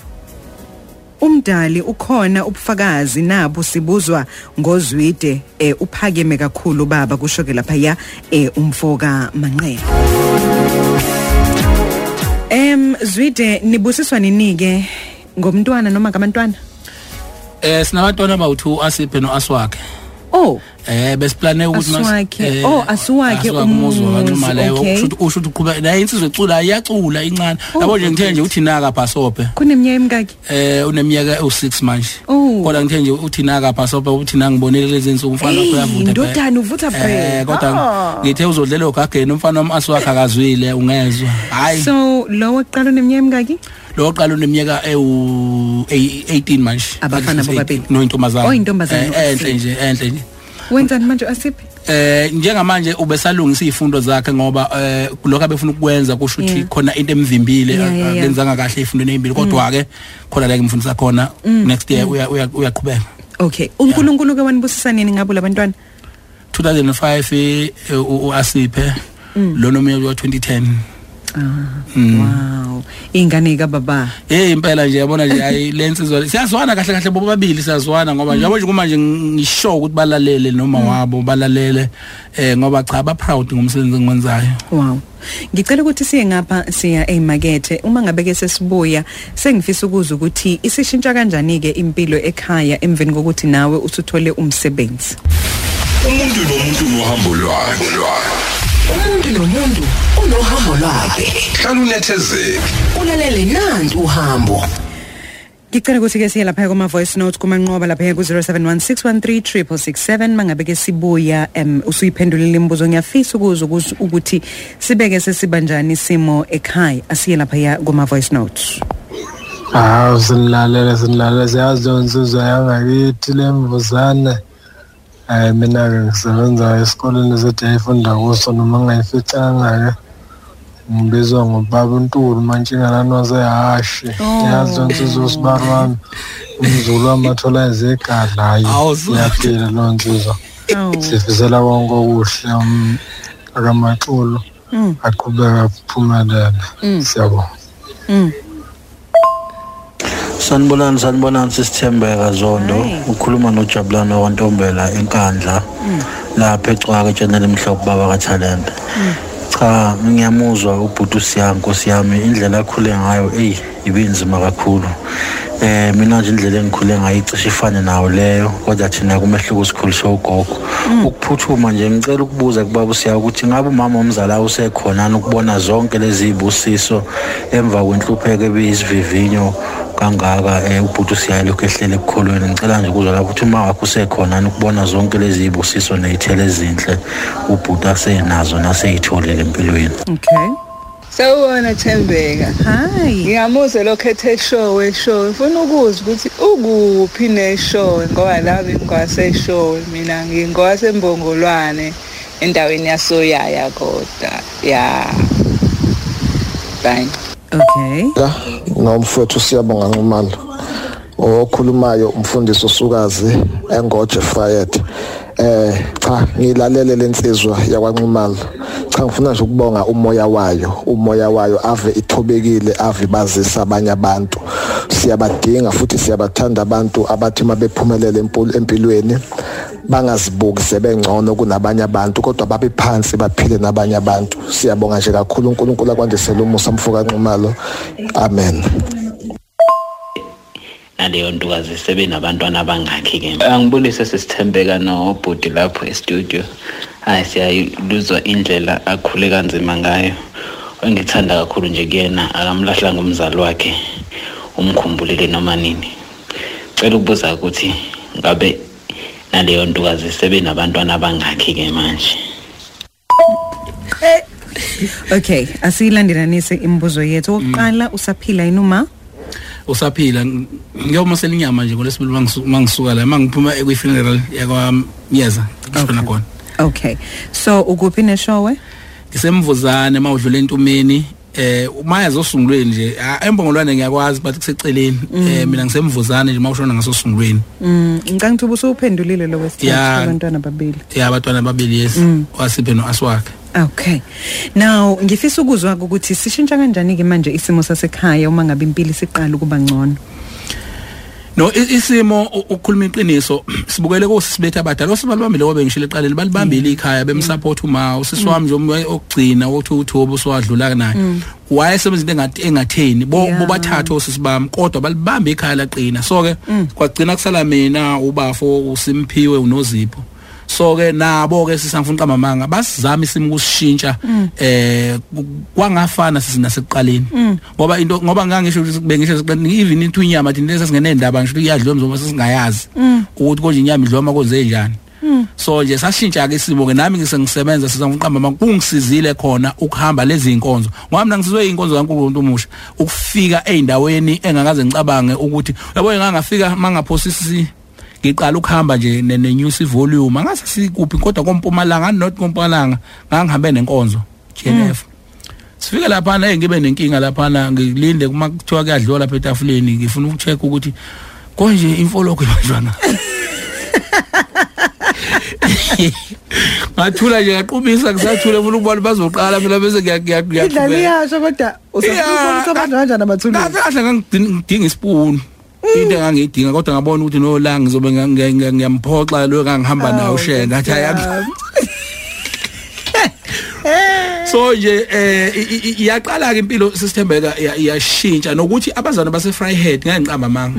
Speaker 3: umdali ukhona ubufakazi nabo sibuzwa ngozwide eh, uphakeme kakhulu baba kusho ke lapha ya eh, umfoka manqele em zwide nibusiswa ninike ngomntwana noma ngamantwana
Speaker 4: eh sinabantwana abawu2 asiphe noaswakhe
Speaker 3: oh
Speaker 4: eh besiplane ukuthi mas-
Speaker 3: Aswakhe.
Speaker 4: eh,
Speaker 3: Oh, aswakhe
Speaker 4: umuzwa
Speaker 3: umuzi,
Speaker 4: kancumalayo
Speaker 3: okay.
Speaker 4: usho ukuthi usho ukuthi uqhubeka naye insizwe ecula iyacula incane
Speaker 3: Oh,
Speaker 4: yabo nje ngithe
Speaker 3: okay.
Speaker 4: nje uthi naka bhasope
Speaker 3: kuneminyaka emingaki
Speaker 4: eh uneminyaka u6 manje
Speaker 3: Oh.
Speaker 4: kodwa ngithe nje uthi naka bhasope uthi nanga ngibonile lezi insuku umfana
Speaker 3: Hey,
Speaker 4: wakho uyavutha phela.
Speaker 3: ndodana, uvutha phela.
Speaker 4: eh kodwa
Speaker 3: Ah.
Speaker 4: ngithe uzodlela ogageni umfana wami aswakhe akazwile ungezwe hayi
Speaker 3: so lowo oqala uneminyaka emingaki
Speaker 4: lo oqala uneminyaka ewu eyi- 18 manje
Speaker 3: Abafana bobabili.
Speaker 4: nointombazana
Speaker 3: Oh, intombazane,
Speaker 4: Eh,
Speaker 3: oh,
Speaker 4: enhle nje enhle nje
Speaker 3: wenzani manje asiphi
Speaker 4: eh njengamanje ubesalungisa izifundo zakhe ngoba eh lokho abefuna ukwenza kusho ukuthi
Speaker 3: Yeah.
Speaker 4: khona into emvimbile
Speaker 3: Yeah, yeah, Mm. yeah.
Speaker 4: akenzanga kahle izifundo nezimbili kodwa ke khona la ngimfundisa khona
Speaker 3: Mm.
Speaker 4: next year uya- uya- uyaqhubeka
Speaker 3: okay uNkulunkulu ke wanibusisa nini ngabo labantwana
Speaker 4: 2005 eh, u- uasiphe
Speaker 3: Mm.
Speaker 4: lo nomunye uya 2010
Speaker 3: Ah, wow ingane ka baba
Speaker 4: Eh impela nje yabona nje hayi lensizwa siyazwana kahle kahle bobabili siyazwana ngoba nje yabo nje kuma nje ngisho ukuthi balalele noma wabo balalele eh ngoba cha ba proud ngomsebenzi engikwenzayo
Speaker 3: wow ngicela ukuthi siye ngapha siya emakethe uma ngabe ke sesibuya sengifisa ukuza ukuthi isishintsha kanjani ke impilo ekhaya emveni kokuthi nawe usuthole umsebenzi
Speaker 1: umuntu nomuntu nohambo lwakhe
Speaker 2: umuntu nomuntu unohambo lwakhe
Speaker 1: hlala unethezeke
Speaker 2: ulalele nantu uhambo
Speaker 3: Ngicela ukuthi ke siye lapha kuma voice note kuma nqoba lapha ku 0716133667 mangabe ke sibuya em usuyiphendulile imibuzo ngiyafisa ukuza ukuz- ukuthi sibeke sesibanjani simo ekhaya asiye lapha ya kuma voice notes
Speaker 5: hawu sinilalela sinilalela siyazi leyo nsizwa yangakithi le mvuzane um mina-ke ngisebenza esikoleni sethu yayifunda kuso noma ngingayificanga-ke ngibizwa ngobaba untuli mantshingalani wasehashe
Speaker 3: Oh.
Speaker 5: yazi zonsiza usibari wami umzulu wami athola ezegadla hayi
Speaker 4: Awu, Zulu.
Speaker 5: iyaphila loo nsiza
Speaker 3: Awu.
Speaker 5: sifisela konke okuhle um, akamaxolo
Speaker 3: Mm.
Speaker 5: aqhubeka aphumelele siyabonga
Speaker 3: Mm.
Speaker 6: Sanibonani sanibonani sisithembeka Zondo
Speaker 3: Hayi.
Speaker 6: ukhuluma noJabulane waNtombela enkandla lapha ecwa ke channel emhlophe baba kaTalent cha ngiyamuzwa ubhuti siyami nkosi yami indlela akhule ngayo ey ibinzima kakhulu eh mina nje indlela engikhule ngayo icishe ifane nawo leyo kodwa thina kumehluko sikhulu sogogo ukuphuthuma nje ngicela ukubuza kubaba usiya ukuthi ngabe umama omzalayo usekhona na ukubona zonke lezi zibusiso emva kwenhlupheko ebiyisivivinyo kangaka eh ubhuti siyaye lokho ehlele ekukholweni ngicela nje ukuzwa lapho ukuthi uma wakho usekhona ukubona zonke lezi zibusiso nezithele ezinhle ubhuti asenazo naseyitholile empilweni
Speaker 3: Okay.
Speaker 7: Sawubona Thembeka.
Speaker 3: Hi.
Speaker 7: Ngiyamuze lokhethe show eshow. Ngifuna ukuzwa ukuthi ukuphi neshow ngoba la bengwase show mina ngingwase mbongolwane endaweni yasoyaya kodwa. Yeah. Bye.
Speaker 3: Okay.
Speaker 8: la nomfowethu siyabonga nqumalo okhulumayo umfundisi usukazi engoje fayet eh cha ngilalele lensizwa yakwanqumalo cha ngifuna nje ukubonga umoya wayo umoya wayo ave ithobekile ave bazisa abanye abantu siyabadinga futhi siyabathanda abantu abathi mabephumelele empul- empilweni bangazibuki sebengcono kunabanye abantu kodwa babe phansi baphile nabanye abantu siyabonga nje kakhulu uNkulunkulu akwandisela umusa mfoka Nxumalo amen
Speaker 9: naleyo ntokazi sebenabantwana abangakhi ke angibulise sisithembeka nobhuti lapho estudio hayi siyayiluzwa indlela akhule kanzima ngayo engithanda kakhulu nje kuyena akamlahlanga umzali wakhe umkhumbulile noma nini cela ukubuza ukuthi ngabe naleyo ntokazi sebenabantwana abangakhi ke manje
Speaker 3: Okay, asiyilandelanise imibuzo yethu. Oqala usaphila inuma?
Speaker 4: usaphila ng- ngiyomasela inyama nje ngolesibili mangisu- mangisuka la mangiphuma ekwi-funeral yakwamyeza ngishona khona
Speaker 3: Okay. So ukuphi neshowe?
Speaker 4: ngisemvuzane uma udlula entumeni eh umayeza osungulweni nje ah, embongolwane ngiyakwazi but kuseceleni eh mina ngisemvuzane nje uma ushona ngasosungulweni
Speaker 3: Mm, ngicanga ukuthi ubusuphendulile lo wesithathu
Speaker 4: Yeah.
Speaker 3: abantwana babili.
Speaker 4: ya abatwana babili yesi wasiphe no-aswakhe
Speaker 3: Okay. Now ngifisa ukuzwa ukuthi sishintsha kanjani ke manje isimo sasekhaya uma ngabe impilo siqala ukuba ngcono.
Speaker 4: no i- isimo u- ukukhuluma iqiniso sibukele kosisibethu abadala osibalibambile kobe ngishilo eqaleni balibambile ikhaya bemsupport uma usisi wami nje umoya okugcina othi uthobo sowadlula naye wayesebenza into engatheni bo
Speaker 3: Yeah.
Speaker 4: bobathatha osisi bami kodwa balibamba ikhaya laqina so ke kwagcina kusala mina ubafo usimphiwe unozipho so ke nabo ke sisangifuna uqamamanga basizama isimo ukushintsha eh ku- kwangafana sisina sekuqaleni ngoba into ngoba ngangisho ukuthi bengisho sekuqaleni even into inyama thina sesingene indaba ngisho ukuthi iyadliwa mzoba sesingayazi ukuthi konje inyama idliwa makonze njani so nje sashintsha ke isimo ke nami ngisengisebenza sizangifuna uqamamanga kungisizile khona ukuhamba lezi inkonzo ngoba mina ngisizwe inkonzo kaNkulunkulu umusha ukufika eindaweni engakaze ngicabange ukuthi yabo ngangafika mangaphosisi ngiqala ukuhamba nje ne- nenews volume angase sikuphi kodwa kompumalanga not kompumalanga ngangihambe nenkonzo JNF sifike lapha na ngibe nenkinga lapha na ngilinde kuma kuthiwa kuyadliwa lapha etafuleni ngifuna ukucheck ukuthi konje imfoloko ibanjwana ngathula nje ngaqubisa ngisathule funa ukubona bazoqala phela bese ngiya- ngiya- ngiyaqhubeka
Speaker 3: kodwa
Speaker 4: kahle ngangidinga ispoon into engangiyidinga kodwa ngabona ukuthi no la ngizobe nga- nga- nga- ngiyamphoxa lo engangihamba nayo share ngathi hayi so nje eh i- i- i- iyaqala ke impilo sisithembeka iya- iyashintsha nokuthi abazali base Fryhead ngayinqamba manga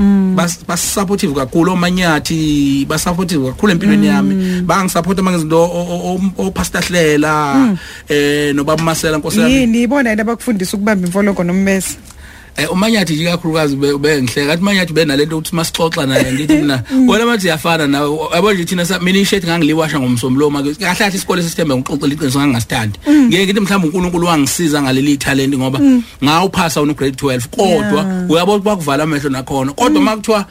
Speaker 4: bas supportive kakhulu omanyathi bas supportive kakhulu empilweni yami bangisupport mangezinto o- o- o- opastor Hlela eh nobaba Masela Nkosi yami
Speaker 3: yini ibona yena abakufundisa ukubamba imfoloko nommesa.
Speaker 4: Eh umanyathi nje kakhulukazi ube- ubengihleka kathi umanyathi benalento ukuthi masixoxa naye ngithi mina wena mathi uyafana nawe yabo nje thina sa- mina ishirt ngangiliwasha ngomsomloma kahle kahle isikole sisithembe ngixoxela iqiniso ngangasithandi ngeke ngithi mhlawumbe uNkulunkulu wangisiza ngaleli talent ngoba ngawuphasa una grade 12 kodwa uyabona ukuthi bakuvala amehlo nakhona kodwa makuthiwa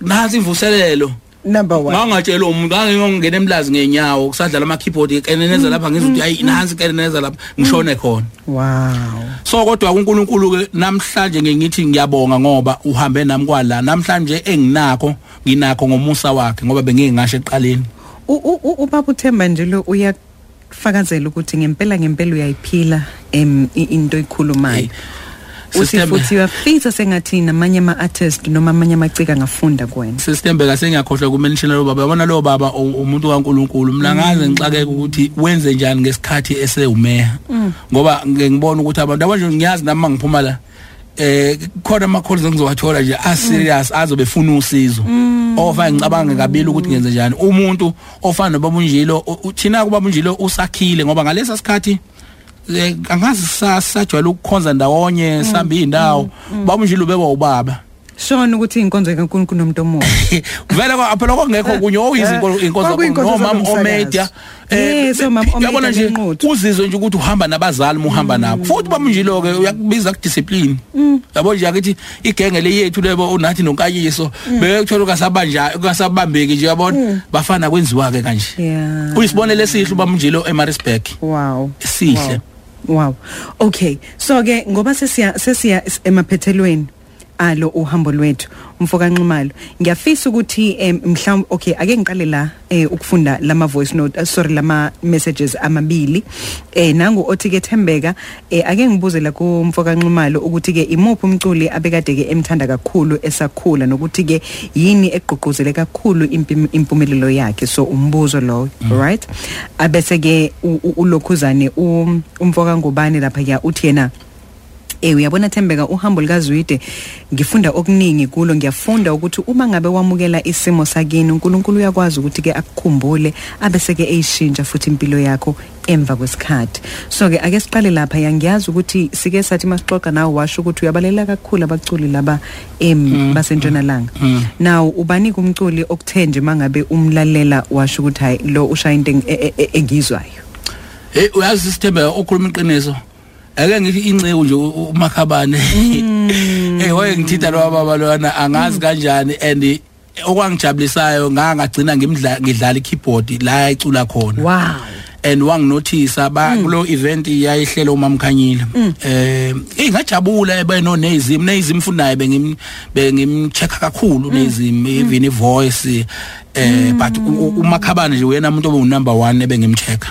Speaker 4: nansi imvuselelo
Speaker 3: number 1
Speaker 4: ngangatshela umuntu ngangiyongena emlazi ngenyawo kusadlala ama keyboard ikeneneza lapha ngizwa ukuthi hayi nansi ikeneneza lapha ngishone khona
Speaker 3: wow
Speaker 4: so kodwa kuNkulunkulu ke namhlanje ngingithi ngiyabonga ngoba uhambe nami kwala namhlanje enginakho nginakho ngomusa wakhe ngoba bengingasho eqaleni
Speaker 3: U- u- u- ubaba uthemba njalo uyafakazela ukuthi ngempela ngempela uyayiphila em i- into
Speaker 4: Hey,
Speaker 3: oyikhulumayo uthi
Speaker 4: Sithembe-
Speaker 3: futhi uyafisa sengathi namanye ama-artist noma amanye amacika angafunda kuwena
Speaker 4: sisithembeka sengiyakhohlwa kumenshina lo baba yabona lo baba u- umuntu kaNkuluNkulu mina ngaze ngixakeke ukuthi wenze njani ngesikhathi esewumeha ngoba ngike ngibone ukuthi abantu abanje ngiyazi nami mangiphuma la eh khona ama calls engizowathola nje a serious azobe efuna usizo ofa ngicabange kabili ukuthi ngenze njani umuntu ofana nobabunjilo uthina kubabunjilo usakhile ngoba ngalesa sikhathi eh, angazi sasajwayela ukukhonza ndawonye sambe indawo babunjilo bewa ubaba
Speaker 3: shona ukuthi iy'nkonzo kankulunkulu nomuntu omuhle
Speaker 4: vele kwa- phela kwakungekho kunye
Speaker 3: Eh, kwakuyinkonzo
Speaker 4: okuyinkonzomama
Speaker 3: zomsakazo.
Speaker 4: omeda
Speaker 3: Yes, omama Omeda
Speaker 4: eh, nje
Speaker 3: nenquthu.
Speaker 4: uzizwe nje ukuthi uhamba nabazali
Speaker 3: Mm.
Speaker 4: muhamba nabo futhi bamnjilo-ke uyakubiza kudiscipline yabo nje akithi igenge le yethu lebo unathi nonkayiso
Speaker 3: Mm.
Speaker 4: bekuthola ungasabanja- ungasabambeki nje yabona bafana kwenziwa-ke kanje
Speaker 3: yeah
Speaker 4: uyisibonelo esihle ubamnjilo emarisburg
Speaker 3: wow
Speaker 4: Sihle.
Speaker 3: wow, wow. okay so-ke ngoba sesiya sesiya s- emaphethelweni alo uhambo lwethu umfo kanxumalo ngiyafisa ukuthi um, mhlawumbe okay ake ngiqale la um ukufunda lama-voice note uh, sorry lama-messages amabili um eh, nangu-othi-ke thembeka um eh, ake ngibuzela kumfo kanxumalo ukuthi-ke imuphi umculi abekade-ke emthanda kakhulu esakhula nokuthi-ke yini egqugquzele kakhulu impim- impumelelo yakhe so umbuzo loyo right abese-ke u- u- ulokhuzane um- umfoka ngubane lapha-ke uthi yena Eh uyabona Thembeka uhambo likaZwide ngifunda okuningi kulo ngiyafunda ukuthi uma ngabe wamukela isimo sakini uNkulunkulu uyakwazi ukuthi ke akukhumbule abese ke eyishintsha futhi impilo yakho emva kwesikhathi so ke ake siqale lapha ya ngiyazi ukuthi sike sathi masixoxa nawe washo ukuthi uyabalela kakhulu abaculi laba em basentshonalanga now ubanika umculi okuthenje mangabe umlalela washo ukuthi hayi lo ushaya into eng- e- e- e- engizwayo
Speaker 4: hey uyazi sithembe okhuluma iqiniso ake ngithi inceku nje u- u- umakhabane hey waye ngithitha lo baba lona angazi kanjani and eh, okwangijabulisayo ngangagcina ngimdla- ngidlala i-keyboard la ayicula khona
Speaker 3: wow
Speaker 4: and wanginothisa ba kulo event yayihlela umamkhanyile eh ingajabula ebeno nezimi nezimi funaye bengim bengimcheka kakhulu nezimi even ivoice eh but u- u- umakhabane nje uyena umuntu obu number 1 ebengimcheka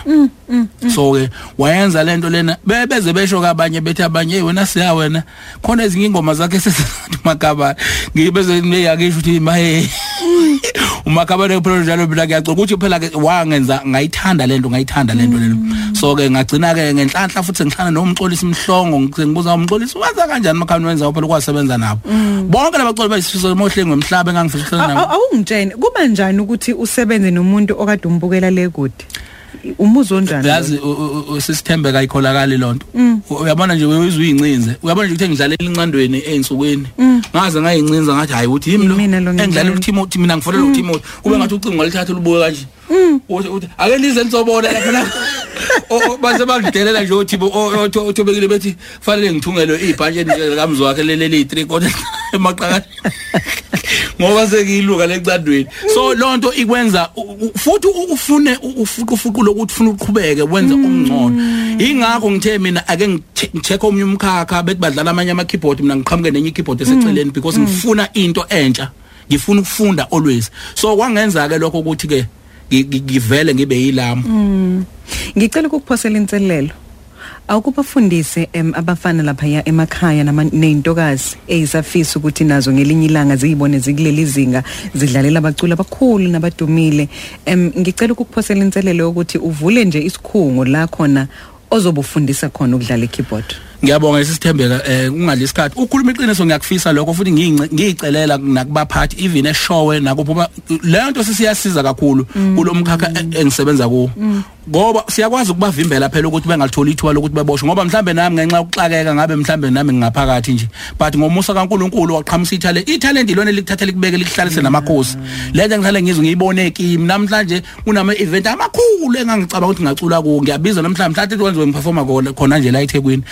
Speaker 4: so ke wayenza lento lena be- beze besho kabanye bethi abanye "Hey, wena siya wena khona ezinye ingoma zakhe sesintu makabane ngibeze ngiyakisho ukuthi maye umakabane phela njalo mina ngiyacoka ukuthi phela ke wangenza ngayithanda lento ngayithanda lento lelo so ke ngagcina ke ngenhlanhla futhi ngihlana nomxolisi mhlongo ngise ngibuza umxolisi waza kanjani makhabane wenza phela kwasebenza nabo bonke labacoli bayisifiso emohlenge ngomhlaba engangifisa ukuhlangana nabo
Speaker 3: Aw- awungitshene kuba njani ukuthi usebenze nomuntu okade umbukela le kude umuzo onjani lo?
Speaker 4: yazi u- u- u- sisithembeka ayikholakali lonto uyabona nje wezwe uyincinze uyabona nje ukuthi ngidlalela inqandweni einsukweni ngaze ngayincinza ngathi hayi uthi yimi lo
Speaker 3: Yimina lo
Speaker 4: engidlalela
Speaker 3: ngidlalela.
Speaker 4: uTimothy mina ngifonela uTimothy kube ngathi ucingo ngalithatha lubuye kanje uthi uthi ake nize nisobona lapha la O- o- base bangidelela nje uthi othobekile bethi fanele ngithungelwe ibhanje nje likamzi wakhe lele liyi 3 kodwa emaqakani ngoba sekiyiluka lecandweni so lonto ikwenza u- u- futhi u- ufune ufuqufuqulo ukuthi ufuna uqhubeke wenze okungcono ingakho ngithe mina ake ngithe- ngithekhe omnye umkhakha bethi badlala amanye ama keyboard mina ngiqhamuke nenye keyboard eseceleni because ngifuna into entsha ngifuna ukufunda always so kwangenza ke lokho ukuthi ke ngi- ngi- ngivele ngibe yilamo
Speaker 3: Hmm. ngicela ukukuphosela inselelo awukubafundise em, abafana lapha emakhaya nama- ney'ntokazi ey'safisa ukuthi nazo ngelinye ilanga ziyibone zikuleli zinga zidlalela abaculi abakhulu nabadumile um ngicela ukukuphosela inselelo yokuthi uvule nje isikhungo la khona ozobe ufundisa khona ukudlala i-keyboard
Speaker 4: ngiyabonga sisithembeka eh kungalesi khathi ukhuluma iqiniso ngiyakufisa lokho futhi ngiyince- ngiyicelela nakubaphathi even eshowe nakuphuma le nto sisiyasiza kakhulu kulomkhakha e- engisebenza kuwo ngoba siyakwazi ukubavimbela phela ukuthi bengalitholi ithuba lokuthi beboshwe ngoba mhlambe nami ngenxa yokuxakeka ngabe mhlambe nami ngingaphakathi nje but ngomusa kaNkuluNkulu waqhamisa ithalent ithalent ilona elikuthatha likubeke likuhlalise namakhosi lento ngihlale ngizwe ngiyibone kimi namhlanje kunama event amakhulu engangicabanga ukuthi ngacula kuwo ngiyabiza namhlanje mhlawumbe kwenziwe ngiperforma khona khona nje la eThekwini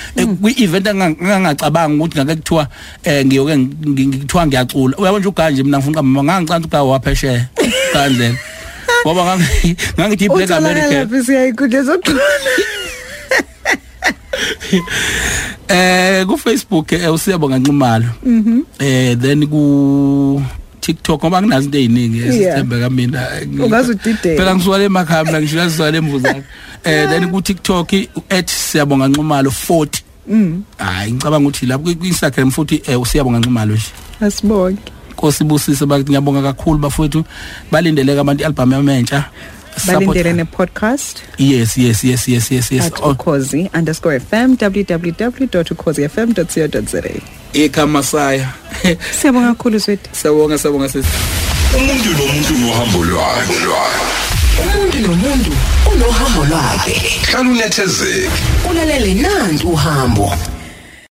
Speaker 4: kwi event engangicabanga ukuthi ngake kuthiwa eh, ngiyoke ngi- ngi- ngithiwa ngiyacula uyabona nje uganje mina ngifuna mama ngangicanda ugawa waphesheya kandlela ngoba ngangi- ngangithi i-black american
Speaker 3: utholakala siyayikhudle zoqhona
Speaker 4: eh ku Facebook eh usiyabonga Nxumalo mhm eh then ku TikTok ngoba nginazo into eziningi esithembe kamina
Speaker 3: Ungazudideka.
Speaker 4: phela ngisuka emakhaya mina ngisho ngisuka lemvuzana eh then ku TikTok @siyabonga Nxumalo 40 mhm hayi ngicabanga ukuthi lapho ku Instagram futhi eh usiyabonga Nxumalo nje
Speaker 3: asibonke
Speaker 4: Nkosi busise bakuthi ngiyabonga kakhulu bafowethu balindeleke abantu album yamentsha Support-
Speaker 3: balindele ne-podcast
Speaker 4: yes yes yes yes yes yes
Speaker 3: at
Speaker 4: Oh,
Speaker 3: ukhozi underscore fm www ukhozi fm co za
Speaker 4: ikhamasaya
Speaker 3: siyabonga kakhulu swethu
Speaker 4: sawonga sawonga sisi
Speaker 1: umuntu nomuntu nohambo lwakhe lwakhe.
Speaker 2: umuntu nomuntu unohambo lwakhe
Speaker 1: hlala unethezeke
Speaker 2: ulalele nantu uhambo